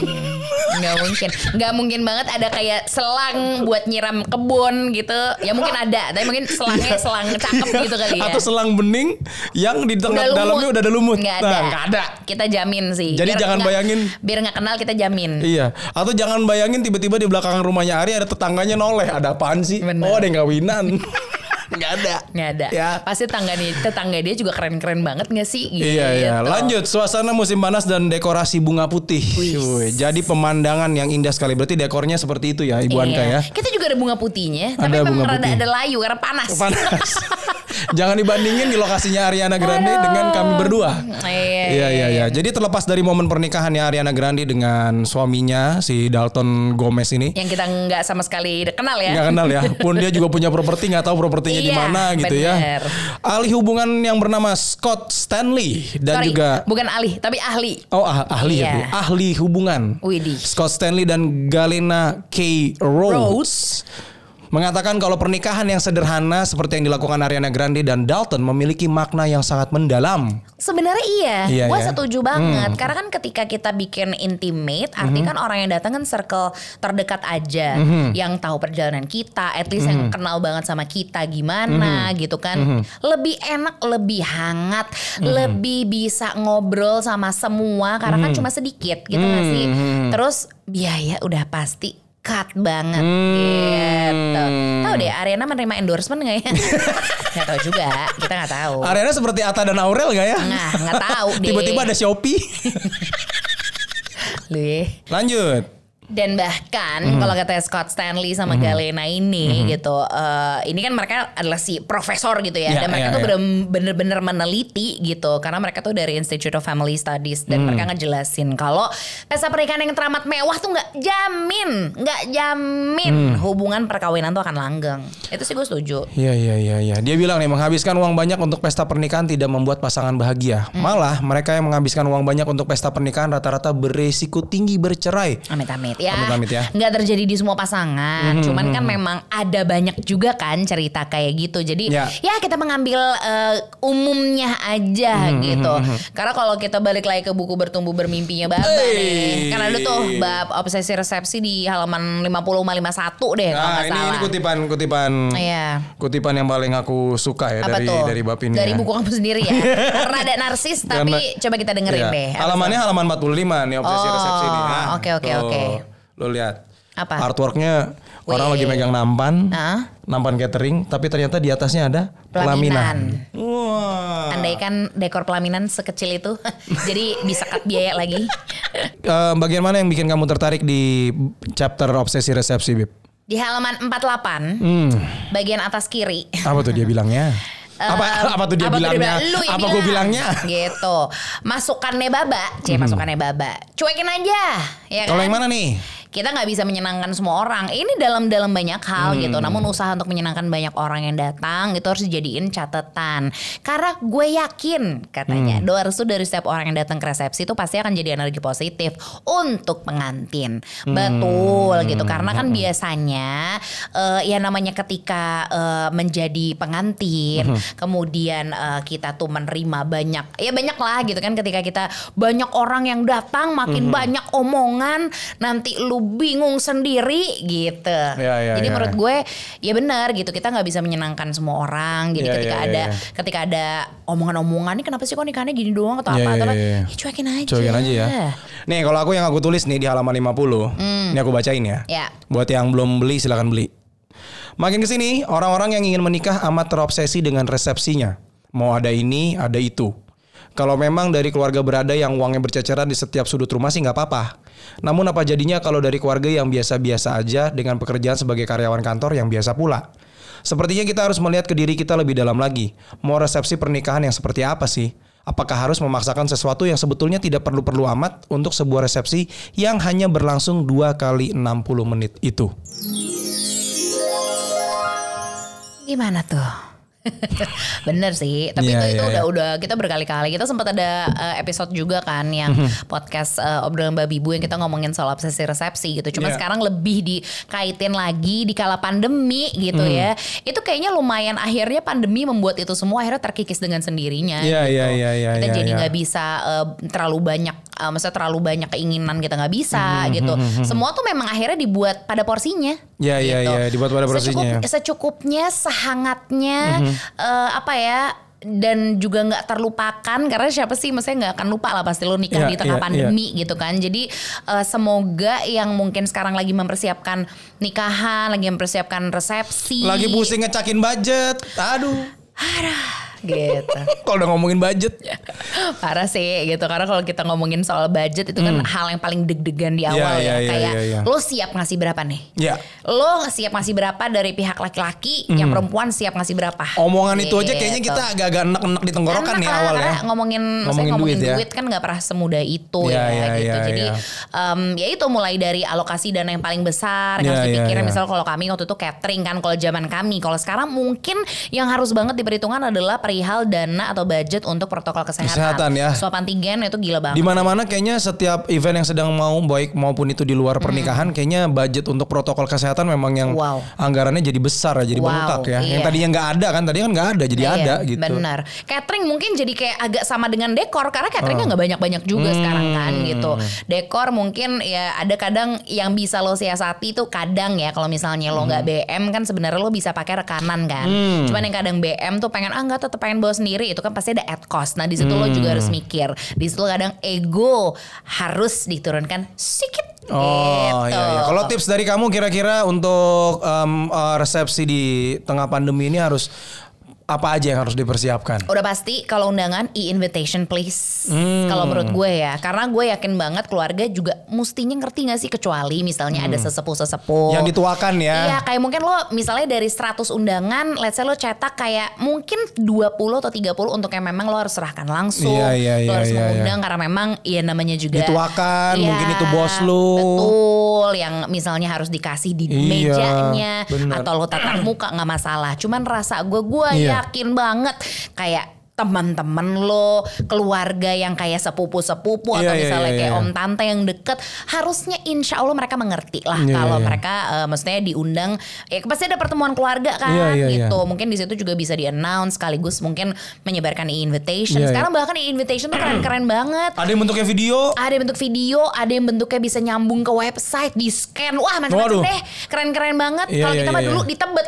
[SPEAKER 1] nggak mungkin nggak mungkin banget ada kayak selang buat nyiram kebun gitu ya mungkin ada tapi mungkin selangnya selang cakep gitu kali ya
[SPEAKER 2] Iya. [LAUGHS] Atau selang bening yang di tengah dalamnya udah ada lumut.
[SPEAKER 1] nggak ada
[SPEAKER 2] Nah, nggak ada.
[SPEAKER 1] kita jamin sih
[SPEAKER 2] Jadi jangan
[SPEAKER 1] nggak-
[SPEAKER 2] bayangin.
[SPEAKER 1] biar nggak kenal kita jamin
[SPEAKER 2] Iya, atau jangan bayangin tiba-tiba di belakang rumahnya Ari ada tetangganya noleh, ada apaan sih?
[SPEAKER 1] Bener.
[SPEAKER 2] Oh, ada yang kawinan. [LAUGHS] Nggak ada.
[SPEAKER 1] nggak ada
[SPEAKER 2] Ya.
[SPEAKER 1] pasti tangga nih tetangga dia juga keren keren banget nggak sih gitu.
[SPEAKER 2] Iya iya. Lanjut suasana musim panas dan dekorasi bunga putih.
[SPEAKER 1] Wih.
[SPEAKER 2] Wuih, Jadi pemandangan yang indah sekali. Berarti dekornya seperti itu ya Ibu Anka
[SPEAKER 1] Iya.
[SPEAKER 2] ya.
[SPEAKER 1] kita juga ada bunga putihnya tapi
[SPEAKER 2] Ada
[SPEAKER 1] memang
[SPEAKER 2] bunga
[SPEAKER 1] rada
[SPEAKER 2] putih.
[SPEAKER 1] ada layu karena panas
[SPEAKER 2] Panas. [LAUGHS] Jangan dibandingin di lokasinya Ariana Grande dengan kami berdua.
[SPEAKER 1] [LAUGHS] Iya,
[SPEAKER 2] Iya
[SPEAKER 1] iya,
[SPEAKER 2] iya iya. Jadi terlepas dari momen pernikahannya Ariana Grande dengan suaminya si Dalton Gomez ini.
[SPEAKER 1] yang kita nggak sama sekali kenal ya
[SPEAKER 2] nggak kenal ya. Pun dia juga punya properti nggak tahu propertinya di
[SPEAKER 1] Iya,
[SPEAKER 2] mana gitu
[SPEAKER 1] bener.
[SPEAKER 2] ya. Ahli hubungan yang bernama Scott Stanley dan
[SPEAKER 1] Sorry,
[SPEAKER 2] juga
[SPEAKER 1] bukan ahli tapi ahli
[SPEAKER 2] Oh ah- ahli
[SPEAKER 1] Iya.
[SPEAKER 2] ya, Bu? ahli hubungan.
[SPEAKER 1] Widih.
[SPEAKER 2] Scott Stanley dan Galena K. Rhodes. Mengatakan kalau pernikahan yang sederhana seperti yang dilakukan Ariana Grande dan Dalton memiliki makna yang sangat mendalam.
[SPEAKER 1] Sebenarnya iya,
[SPEAKER 2] Iya,
[SPEAKER 1] gue
[SPEAKER 2] ya.
[SPEAKER 1] setuju banget. Karena kan ketika kita bikin intimate,
[SPEAKER 2] Hmm.
[SPEAKER 1] artinya kan orang yang datang kan circle terdekat aja, yang tahu perjalanan kita, at least yang
[SPEAKER 2] Hmm.
[SPEAKER 1] kenal banget sama kita gimana gitu kan. Lebih enak, lebih hangat,
[SPEAKER 2] Hmm.
[SPEAKER 1] lebih bisa ngobrol sama semua. Karena
[SPEAKER 2] Hmm.
[SPEAKER 1] kan cuma sedikit gitu nggak sih. Terus biaya udah pasti cut banget
[SPEAKER 2] Hmm.
[SPEAKER 1] gitu. Tahu deh, Arena menerima endorsement nggak ya? [LAUGHS] Nggak tahu juga, kita nggak tahu.
[SPEAKER 2] Ariana seperti Atta dan Aurel gak ya?
[SPEAKER 1] Oh. Nah, nggak
[SPEAKER 2] [LAUGHS]
[SPEAKER 1] tahu deh.
[SPEAKER 2] Tiba-tiba ada Shopee.
[SPEAKER 1] [LAUGHS] Lu ya.
[SPEAKER 2] Lanjut.
[SPEAKER 1] Dan bahkan kalau kata Scott Stanley sama Galena ini gitu, eh, ini kan mereka adalah si profesor gitu ya.
[SPEAKER 2] Iya,
[SPEAKER 1] dan mereka
[SPEAKER 2] iya,
[SPEAKER 1] tuh
[SPEAKER 2] iya.
[SPEAKER 1] bener- bener-bener meneliti gitu, karena mereka tuh dari Institute of Family Studies dan mereka ngejelasin kalau pesta pernikahan yang teramat mewah tuh nggak jamin, nggak jamin hubungan perkawinan tuh akan langgeng. Itu sih gue setuju.
[SPEAKER 2] Iya iya iya iya. Dia bilang nih menghabiskan uang banyak untuk pesta pernikahan tidak membuat pasangan bahagia.
[SPEAKER 1] Mm.
[SPEAKER 2] Malah mereka yang menghabiskan uang banyak untuk pesta pernikahan rata-rata beresiko tinggi bercerai.
[SPEAKER 1] Amit-amit ya.
[SPEAKER 2] Amit-amit ya. Mhm,
[SPEAKER 1] Nggak terjadi di semua pasangan. Cuman kan memang ada banyak juga kan cerita kayak gitu. Jadi
[SPEAKER 2] Ya.
[SPEAKER 1] ya kita mengambil eh, umumnya aja
[SPEAKER 2] Mhm,
[SPEAKER 1] gitu. Karena kalau kita balik lagi ke buku bertumbuh bermimpinya Baba
[SPEAKER 2] Hey.
[SPEAKER 1] nih. Kan ada tuh bab obsesi resepsi di halaman 50 51 deh kalau Iya,
[SPEAKER 2] Nah,
[SPEAKER 1] nggak
[SPEAKER 2] ini,
[SPEAKER 1] salah.
[SPEAKER 2] ini kutipan kutipan
[SPEAKER 1] Iya.
[SPEAKER 2] kutipan yang paling aku suka ya
[SPEAKER 1] Apa
[SPEAKER 2] dari
[SPEAKER 1] tuh?
[SPEAKER 2] dari bab ini.
[SPEAKER 1] Dari
[SPEAKER 2] ya.
[SPEAKER 1] buku kamu sendiri
[SPEAKER 2] [LAUGHS]
[SPEAKER 1] ya. Rada narsis tapi
[SPEAKER 2] Karena-
[SPEAKER 1] coba kita dengerin
[SPEAKER 2] Iya.
[SPEAKER 1] deh. Apa
[SPEAKER 2] Halamannya halaman 45 nih obsesi
[SPEAKER 1] Oh,
[SPEAKER 2] resepsi ini. Nah,
[SPEAKER 1] oke, oke,
[SPEAKER 2] tuh.
[SPEAKER 1] oke.
[SPEAKER 2] Lo lihat.
[SPEAKER 1] Apa?
[SPEAKER 2] Artworknya
[SPEAKER 1] Wih. Nah.
[SPEAKER 2] orang lagi megang nampan,
[SPEAKER 1] Hah?
[SPEAKER 2] nampan catering, tapi ternyata di atasnya ada pelaminan.
[SPEAKER 1] Pelaminan.
[SPEAKER 2] Wah. Eh.
[SPEAKER 1] kan [LAUGHS] Andaikan dekor pelaminan sekecil itu, jadi bisa cut biaya lagi.
[SPEAKER 2] Eh, bagian mana yang bikin kamu tertarik di chapter obsesi resepsi, Bib?
[SPEAKER 1] Di halaman 48, bagian atas kiri.
[SPEAKER 2] Apa tuh dia bilangnya?
[SPEAKER 1] Eh,
[SPEAKER 2] Apa apa tuh dia
[SPEAKER 1] bilang?
[SPEAKER 2] bilangnya?
[SPEAKER 1] Lu yang
[SPEAKER 2] apa gue bilangnya? Hmm.
[SPEAKER 1] Gitu. Masukannya baba, c masukannya baba. Cuekin aja, ya kan?
[SPEAKER 2] Kalau yang mana nih?
[SPEAKER 1] Kita nggak bisa menyenangkan semua orang. Ini dalam-dalam banyak hal gitu. Namun usaha untuk menyenangkan banyak orang yang datang itu harus dijadiin catatan. Karena gue yakin katanya doa restu dari setiap orang yang datang ke resepsi itu pasti akan jadi energi positif untuk pengantin. Betul gitu. Karena kan
[SPEAKER 2] Mm-hmm.
[SPEAKER 1] biasanya eh, ya namanya ketika eh, menjadi pengantin,
[SPEAKER 2] Mm-hmm.
[SPEAKER 1] kemudian eh, kita tuh menerima banyak ya banyak lah gitu kan ketika kita banyak orang yang datang makin
[SPEAKER 2] Mm-hmm.
[SPEAKER 1] banyak omongan nanti lu bingung sendiri gitu.
[SPEAKER 2] Ya, ya,
[SPEAKER 1] Jadi
[SPEAKER 2] ya.
[SPEAKER 1] menurut gue ya benar gitu kita nggak bisa menyenangkan semua orang. Jadi
[SPEAKER 2] Ya,
[SPEAKER 1] ketika
[SPEAKER 2] ya,
[SPEAKER 1] ada
[SPEAKER 2] ya.
[SPEAKER 1] ketika ada omongan-omongan ini kenapa sih kok nikahnya gini doang atau
[SPEAKER 2] Ya,
[SPEAKER 1] apa
[SPEAKER 2] ya,
[SPEAKER 1] atau apa?
[SPEAKER 2] ya, ya.
[SPEAKER 1] Ya, cuekin aja.
[SPEAKER 2] Cobain aja ya. Nih kalau aku yang aku tulis nih di halaman 50. Ini aku bacain ya.
[SPEAKER 1] Ya.
[SPEAKER 2] Buat yang belum beli silakan beli. Makin ke sini orang-orang yang ingin menikah amat terobsesi dengan resepsinya. Mau ada ini, ada itu. Kalau memang dari keluarga berada yang uangnya berceceran di setiap sudut rumah sih nggak apa-apa. Namun apa jadinya kalau dari keluarga yang biasa-biasa aja dengan pekerjaan sebagai karyawan kantor yang biasa pula? Sepertinya kita harus melihat ke diri kita lebih dalam lagi. Mau resepsi pernikahan yang seperti apa sih? Apakah harus memaksakan sesuatu yang sebetulnya tidak perlu-perlu amat untuk sebuah resepsi yang hanya berlangsung 2 kali 60 menit itu?
[SPEAKER 1] Gimana
[SPEAKER 2] [LAUGHS]
[SPEAKER 1] tuh? Bener sih, tapi
[SPEAKER 2] Iya,
[SPEAKER 1] itu, itu udah
[SPEAKER 2] iya, iya.
[SPEAKER 1] udah kita berkali-kali kita sempat ada eh, episode juga kan yang
[SPEAKER 2] Mhm.
[SPEAKER 1] podcast eh, obrolan babi bu yang kita ngomongin soal obsesi resepsi gitu. Cuma
[SPEAKER 2] Iya.
[SPEAKER 1] sekarang lebih dikaitin lagi di kala pandemi gitu
[SPEAKER 2] Mhm.
[SPEAKER 1] ya. Itu kayaknya lumayan akhirnya pandemi membuat itu semua akhirnya terkikis dengan sendirinya.
[SPEAKER 2] Iya,
[SPEAKER 1] gitu.
[SPEAKER 2] iya, iya, iya,
[SPEAKER 1] Kita
[SPEAKER 2] iya,
[SPEAKER 1] jadi
[SPEAKER 2] iya.
[SPEAKER 1] nggak bisa eh, terlalu banyak, eh, maksudnya terlalu banyak keinginan kita nggak
[SPEAKER 2] Hmm,
[SPEAKER 1] bisa gitu. Semua tuh memang akhirnya dibuat pada porsinya.
[SPEAKER 2] Iya, iya,
[SPEAKER 1] gitu.
[SPEAKER 2] iya, dibuat pada porsinya Hmm, ya.
[SPEAKER 1] Secukup, secukupnya, sehangatnya, eh, apa ya? Dan juga nggak terlupakan karena siapa sih, maksudnya nggak akan lupa lah pasti lo nikah di
[SPEAKER 2] Iya,
[SPEAKER 1] tengah
[SPEAKER 2] iya,
[SPEAKER 1] pandemi gitu kan. Jadi eh, semoga yang mungkin sekarang lagi mempersiapkan nikahan, lagi mempersiapkan resepsi,
[SPEAKER 2] Lagi pusing ngecakin budget. Aduh,
[SPEAKER 1] gitu.
[SPEAKER 2] kalau udah ngomongin budget.
[SPEAKER 1] Ya. [LAUGHS] Parah sih gitu karena kalau kita ngomongin soal budget itu kan hal yang paling deg-degan di awal
[SPEAKER 2] Hmm. Iya,
[SPEAKER 1] ya
[SPEAKER 2] iya,
[SPEAKER 1] kayak
[SPEAKER 2] iya, iya.
[SPEAKER 1] lo siap ngasih berapa nih?
[SPEAKER 2] Ya,
[SPEAKER 1] Lo siap ngasih berapa dari pihak laki-laki, yang perempuan siap ngasih berapa?
[SPEAKER 2] Hmm. omongan itu aja kayaknya
[SPEAKER 1] Gitu.
[SPEAKER 2] kita agak-agak enak-enak di tenggorokan
[SPEAKER 1] Enak
[SPEAKER 2] nih
[SPEAKER 1] lah,
[SPEAKER 2] awal ya.
[SPEAKER 1] karena ngomongin
[SPEAKER 2] Ngomongin
[SPEAKER 1] ngomongin, ngomongin
[SPEAKER 2] duit
[SPEAKER 1] duit,
[SPEAKER 2] ya.
[SPEAKER 1] kan nggak pernah semudah itu
[SPEAKER 2] Iya,
[SPEAKER 1] ya
[SPEAKER 2] iya,
[SPEAKER 1] gitu
[SPEAKER 2] iya,
[SPEAKER 1] jadi
[SPEAKER 2] iya.
[SPEAKER 1] em, ya itu mulai dari alokasi dana yang paling besar yang
[SPEAKER 2] Iya,
[SPEAKER 1] harus
[SPEAKER 2] iya,
[SPEAKER 1] dipikirin
[SPEAKER 2] iya.
[SPEAKER 1] misal kalau kami waktu itu catering kan kalau zaman kami kalau sekarang mungkin yang harus banget diperhitungkan adalah perihal dana atau budget untuk protokol kesehatan,
[SPEAKER 2] Kesehatan, ya.
[SPEAKER 1] swab antigen itu gila banget
[SPEAKER 2] Di mana-mana kayaknya setiap event yang sedang mau baik maupun itu di luar pernikahan kayaknya budget untuk protokol kesehatan memang yang
[SPEAKER 1] Hmm. Wow.
[SPEAKER 2] anggarannya jadi besar ya, jadi
[SPEAKER 1] Wow,
[SPEAKER 2] bengkak ya. Yang
[SPEAKER 1] iya.
[SPEAKER 2] tadinya nggak ada kan, tadi kan nggak ada jadi
[SPEAKER 1] Iya,
[SPEAKER 2] ada gitu.
[SPEAKER 1] Benar. Catering mungkin jadi kayak agak sama dengan dekor karena
[SPEAKER 2] Ah.
[SPEAKER 1] cateringnya nggak banyak-banyak juga
[SPEAKER 2] Hmm.
[SPEAKER 1] sekarang kan gitu. Dekor mungkin ya ada kadang yang bisa lo siasati itu kadang ya kalau misalnya lo
[SPEAKER 2] Hmm.
[SPEAKER 1] nggak BM kan sebenarnya lo bisa pakai rekanan kan. Cuman yang kadang BM tuh pengen ah nggak tetap pengen bawa sendiri itu kan pasti ada ad cost. Nah di situ lo
[SPEAKER 2] Hmm.
[SPEAKER 1] juga harus mikir. Di situ kadang ego harus diturunkan sedikit.
[SPEAKER 2] Oh
[SPEAKER 1] gitu.
[SPEAKER 2] iya, iya. Kalau tips dari kamu kira-kira untuk em, eh, resepsi di tengah pandemi ini harus apa aja yang harus dipersiapkan?
[SPEAKER 1] Udah pasti kalau undangan e-invitation please. Kalau menurut gue ya, karena gue yakin banget keluarga juga mestinya ngerti gak sih kecuali misalnya ada sesepuh-sesepuh.
[SPEAKER 2] Yang dituakan ya.
[SPEAKER 1] Oh. Iya, kayak mungkin lo misalnya dari 100 undangan, let's say lo cetak kayak mungkin 20 atau 30 untuk yang memang lo harus serahkan langsung.
[SPEAKER 2] Iya, iya,
[SPEAKER 1] lo
[SPEAKER 2] iya,
[SPEAKER 1] harus
[SPEAKER 2] iya,
[SPEAKER 1] mengundang karena memang ya namanya juga iya,
[SPEAKER 2] Dituakan, mungkin itu bos lo.
[SPEAKER 1] Betul, yang misalnya harus dikasih di
[SPEAKER 2] Iya,
[SPEAKER 1] mejanya
[SPEAKER 2] bener.
[SPEAKER 1] atau lo tatap muka nggak masalah. Cuman rasa gue gue
[SPEAKER 2] Iya.
[SPEAKER 1] yakin banget kayak teman-teman lo, keluarga yang kayak sepupu-sepupu atau
[SPEAKER 2] Iya, iya,
[SPEAKER 1] misalnya
[SPEAKER 2] iya,
[SPEAKER 1] kayak
[SPEAKER 2] iya.
[SPEAKER 1] om tante yang deket, harusnya insya Allah mereka mengerti lah
[SPEAKER 2] Iya,
[SPEAKER 1] kalau
[SPEAKER 2] iya.
[SPEAKER 1] mereka eh, maksudnya diundang, ya pasti ada pertemuan keluarga kan
[SPEAKER 2] Iya, iya,
[SPEAKER 1] gitu.
[SPEAKER 2] iya.
[SPEAKER 1] Mungkin di situ juga bisa di announce sekaligus mungkin menyebarkan invitation.
[SPEAKER 2] Iya, iya.
[SPEAKER 1] Sekarang bahkan invitation tuh keren-keren banget.
[SPEAKER 2] Ada yang bentuknya video.
[SPEAKER 1] Ada yang bentuk video, ada yang bentuknya bisa nyambung ke website, di scan. Wah, macam-macam
[SPEAKER 2] Waduh.
[SPEAKER 1] deh. Keren-keren banget.
[SPEAKER 2] Iya,
[SPEAKER 1] Kalau
[SPEAKER 2] iya, [LAUGHS]
[SPEAKER 1] kita mah
[SPEAKER 2] iya,
[SPEAKER 1] dulu
[SPEAKER 2] iya.
[SPEAKER 1] ditebet.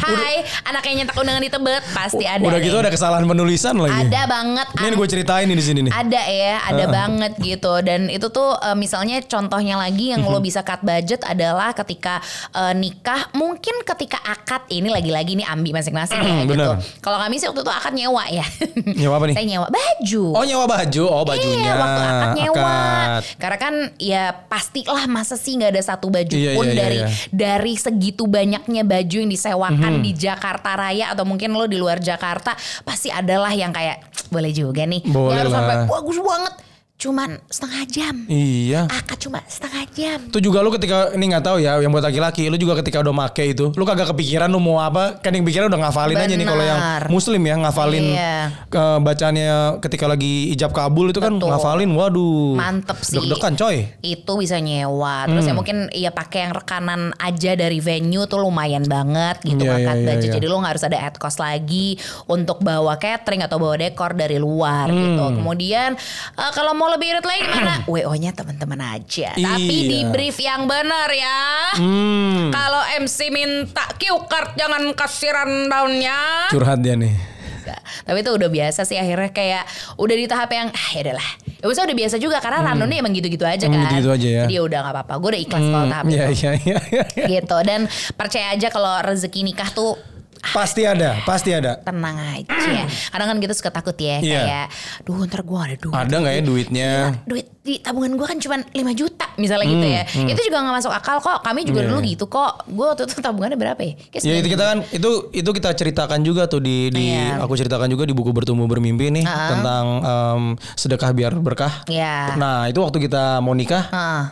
[SPEAKER 1] Hai, anak yang nyetak undangan di Tebet pasti ada.
[SPEAKER 2] Udah
[SPEAKER 1] deh.
[SPEAKER 2] gitu ada kesalahan penulisan lagi.
[SPEAKER 1] Ada banget.
[SPEAKER 2] Ini
[SPEAKER 1] an-
[SPEAKER 2] gue ceritain nih di sini nih.
[SPEAKER 1] ada ya, ada banget gitu. Dan itu tuh eh, misalnya contohnya lagi yang
[SPEAKER 2] Mhm.
[SPEAKER 1] lo bisa cut budget adalah ketika eh, nikah, mungkin ketika akad ini lagi-lagi nih ambi masing-masing ya gitu.
[SPEAKER 2] Bener.
[SPEAKER 1] Kalau kami sih waktu itu akad nyewa ya.
[SPEAKER 2] Mhm, Nyewa apa nih?
[SPEAKER 1] [LAUGHS] Saya nyewa baju.
[SPEAKER 2] Oh nyewa baju, oh bajunya.
[SPEAKER 1] Iya, waktu akad nyewa.
[SPEAKER 2] Akad.
[SPEAKER 1] Karena kan ya pastilah masa sih nggak ada satu baju
[SPEAKER 2] Iya,
[SPEAKER 1] pun
[SPEAKER 2] iya, iya,
[SPEAKER 1] dari
[SPEAKER 2] iya. Mhm.
[SPEAKER 1] dari segitu banyaknya baju yang disewakan di Jakarta Raya atau mungkin lo di luar Jakarta pasti adalah yang kayak "Cuk, boleh juga nih. Nggak
[SPEAKER 2] Boleh
[SPEAKER 1] harus sampai
[SPEAKER 2] lah.
[SPEAKER 1] bagus banget. Cuman setengah jam.
[SPEAKER 2] Iya.
[SPEAKER 1] Akad cuma setengah jam.
[SPEAKER 2] Itu juga lu ketika ini nggak tahu ya yang buat laki-laki, lu juga ketika udah make itu, lu kagak kepikiran lu mau apa, kan yang pikiran udah ngafalin aja nih kalau yang
[SPEAKER 1] Benar.
[SPEAKER 2] muslim ya ngafalin
[SPEAKER 1] Iya.
[SPEAKER 2] ke bacaannya ketika lagi ijab kabul itu kan
[SPEAKER 1] Betul.
[SPEAKER 2] ngafalin, waduh.
[SPEAKER 1] Mantep sih.
[SPEAKER 2] Deg-degan coy.
[SPEAKER 1] itu bisa nyewa terus ya
[SPEAKER 2] Hmm.
[SPEAKER 1] mungkin ya pakai yang rekanan aja dari venue tuh lumayan banget gitu
[SPEAKER 2] Iya,
[SPEAKER 1] kan
[SPEAKER 2] iya, iya,
[SPEAKER 1] budget
[SPEAKER 2] iya.
[SPEAKER 1] jadi lo nggak harus ada ad cost lagi untuk bawa catering atau bawa dekor dari luar gitu
[SPEAKER 2] Hmm.
[SPEAKER 1] kemudian eh, kalau mau lebih irit lagi
[SPEAKER 2] [CLEARS THROAT]
[SPEAKER 1] gimana wo nya teman-teman aja tapi
[SPEAKER 2] Iya.
[SPEAKER 1] di brief yang benar ya
[SPEAKER 2] Hmm.
[SPEAKER 1] kalau MC minta cue card jangan kasiran daunnya
[SPEAKER 2] Curhat dia nih.
[SPEAKER 1] Enggak. Tapi itu udah biasa sih akhirnya kayak udah di tahap yang ah ya udahlah. Ya maksudnya udah biasa juga karena randomnya emang gitu-gitu aja kan.
[SPEAKER 2] Hmm. Emang gitu-gitu aja ya.
[SPEAKER 1] Jadi udah nggak apa-apa. Gue udah ikhlas kalau tahap
[SPEAKER 2] Iya
[SPEAKER 1] itu.
[SPEAKER 2] iya iya. iya.
[SPEAKER 1] Gitu dan percaya aja kalau rezeki nikah tuh
[SPEAKER 2] Pasti ada, pasti ada.
[SPEAKER 1] tenang aja. Kadang kan kita suka takut ya
[SPEAKER 2] Hmm. Iya.
[SPEAKER 1] kayak duh ntar gue ada duit.
[SPEAKER 2] Ada nggak ya duitnya?
[SPEAKER 1] duit di tabungan gue kan cuma 5 juta misalnya gitu ya. Itu juga nggak masuk akal kok. Kami juga
[SPEAKER 2] Hmm, Iya,
[SPEAKER 1] dulu
[SPEAKER 2] iya.
[SPEAKER 1] gitu kok. Gue waktu itu tabungannya berapa ya? Kayak
[SPEAKER 2] Ya itu
[SPEAKER 1] 9
[SPEAKER 2] kita kan itu itu kita ceritakan juga tuh di di
[SPEAKER 1] Iya.
[SPEAKER 2] aku ceritakan juga di buku bertumbuh bermimpi nih
[SPEAKER 1] Ah.
[SPEAKER 2] tentang em, sedekah biar berkah.
[SPEAKER 1] Iya.
[SPEAKER 2] Nah, itu waktu kita mau nikah
[SPEAKER 1] Heeh.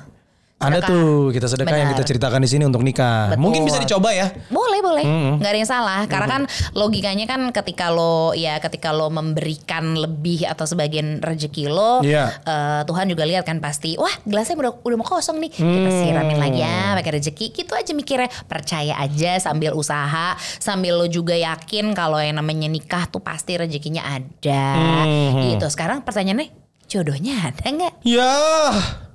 [SPEAKER 2] ada
[SPEAKER 1] Sedekah.
[SPEAKER 2] tuh kita sedekah yang
[SPEAKER 1] Benar.
[SPEAKER 2] kita ceritakan di sini untuk nikah.
[SPEAKER 1] Betul.
[SPEAKER 2] Mungkin bisa dicoba ya.
[SPEAKER 1] Boleh boleh, nggak ada yang salah. Karena kan logikanya kan ketika lo ya ketika lo memberikan lebih atau sebagian rezeki lo,
[SPEAKER 2] Iya.
[SPEAKER 1] eh, Tuhan juga lihat kan pasti, wah gelasnya udah udah mau kosong nih, kita siramin lagi ya pakai rezeki. Gitu aja mikirnya, percaya aja sambil usaha, sambil lo juga yakin kalau yang namanya nikah tuh pasti rezekinya ada. Gitu. Sekarang pertanyaannya, jodohnya ada nggak?
[SPEAKER 2] Ya.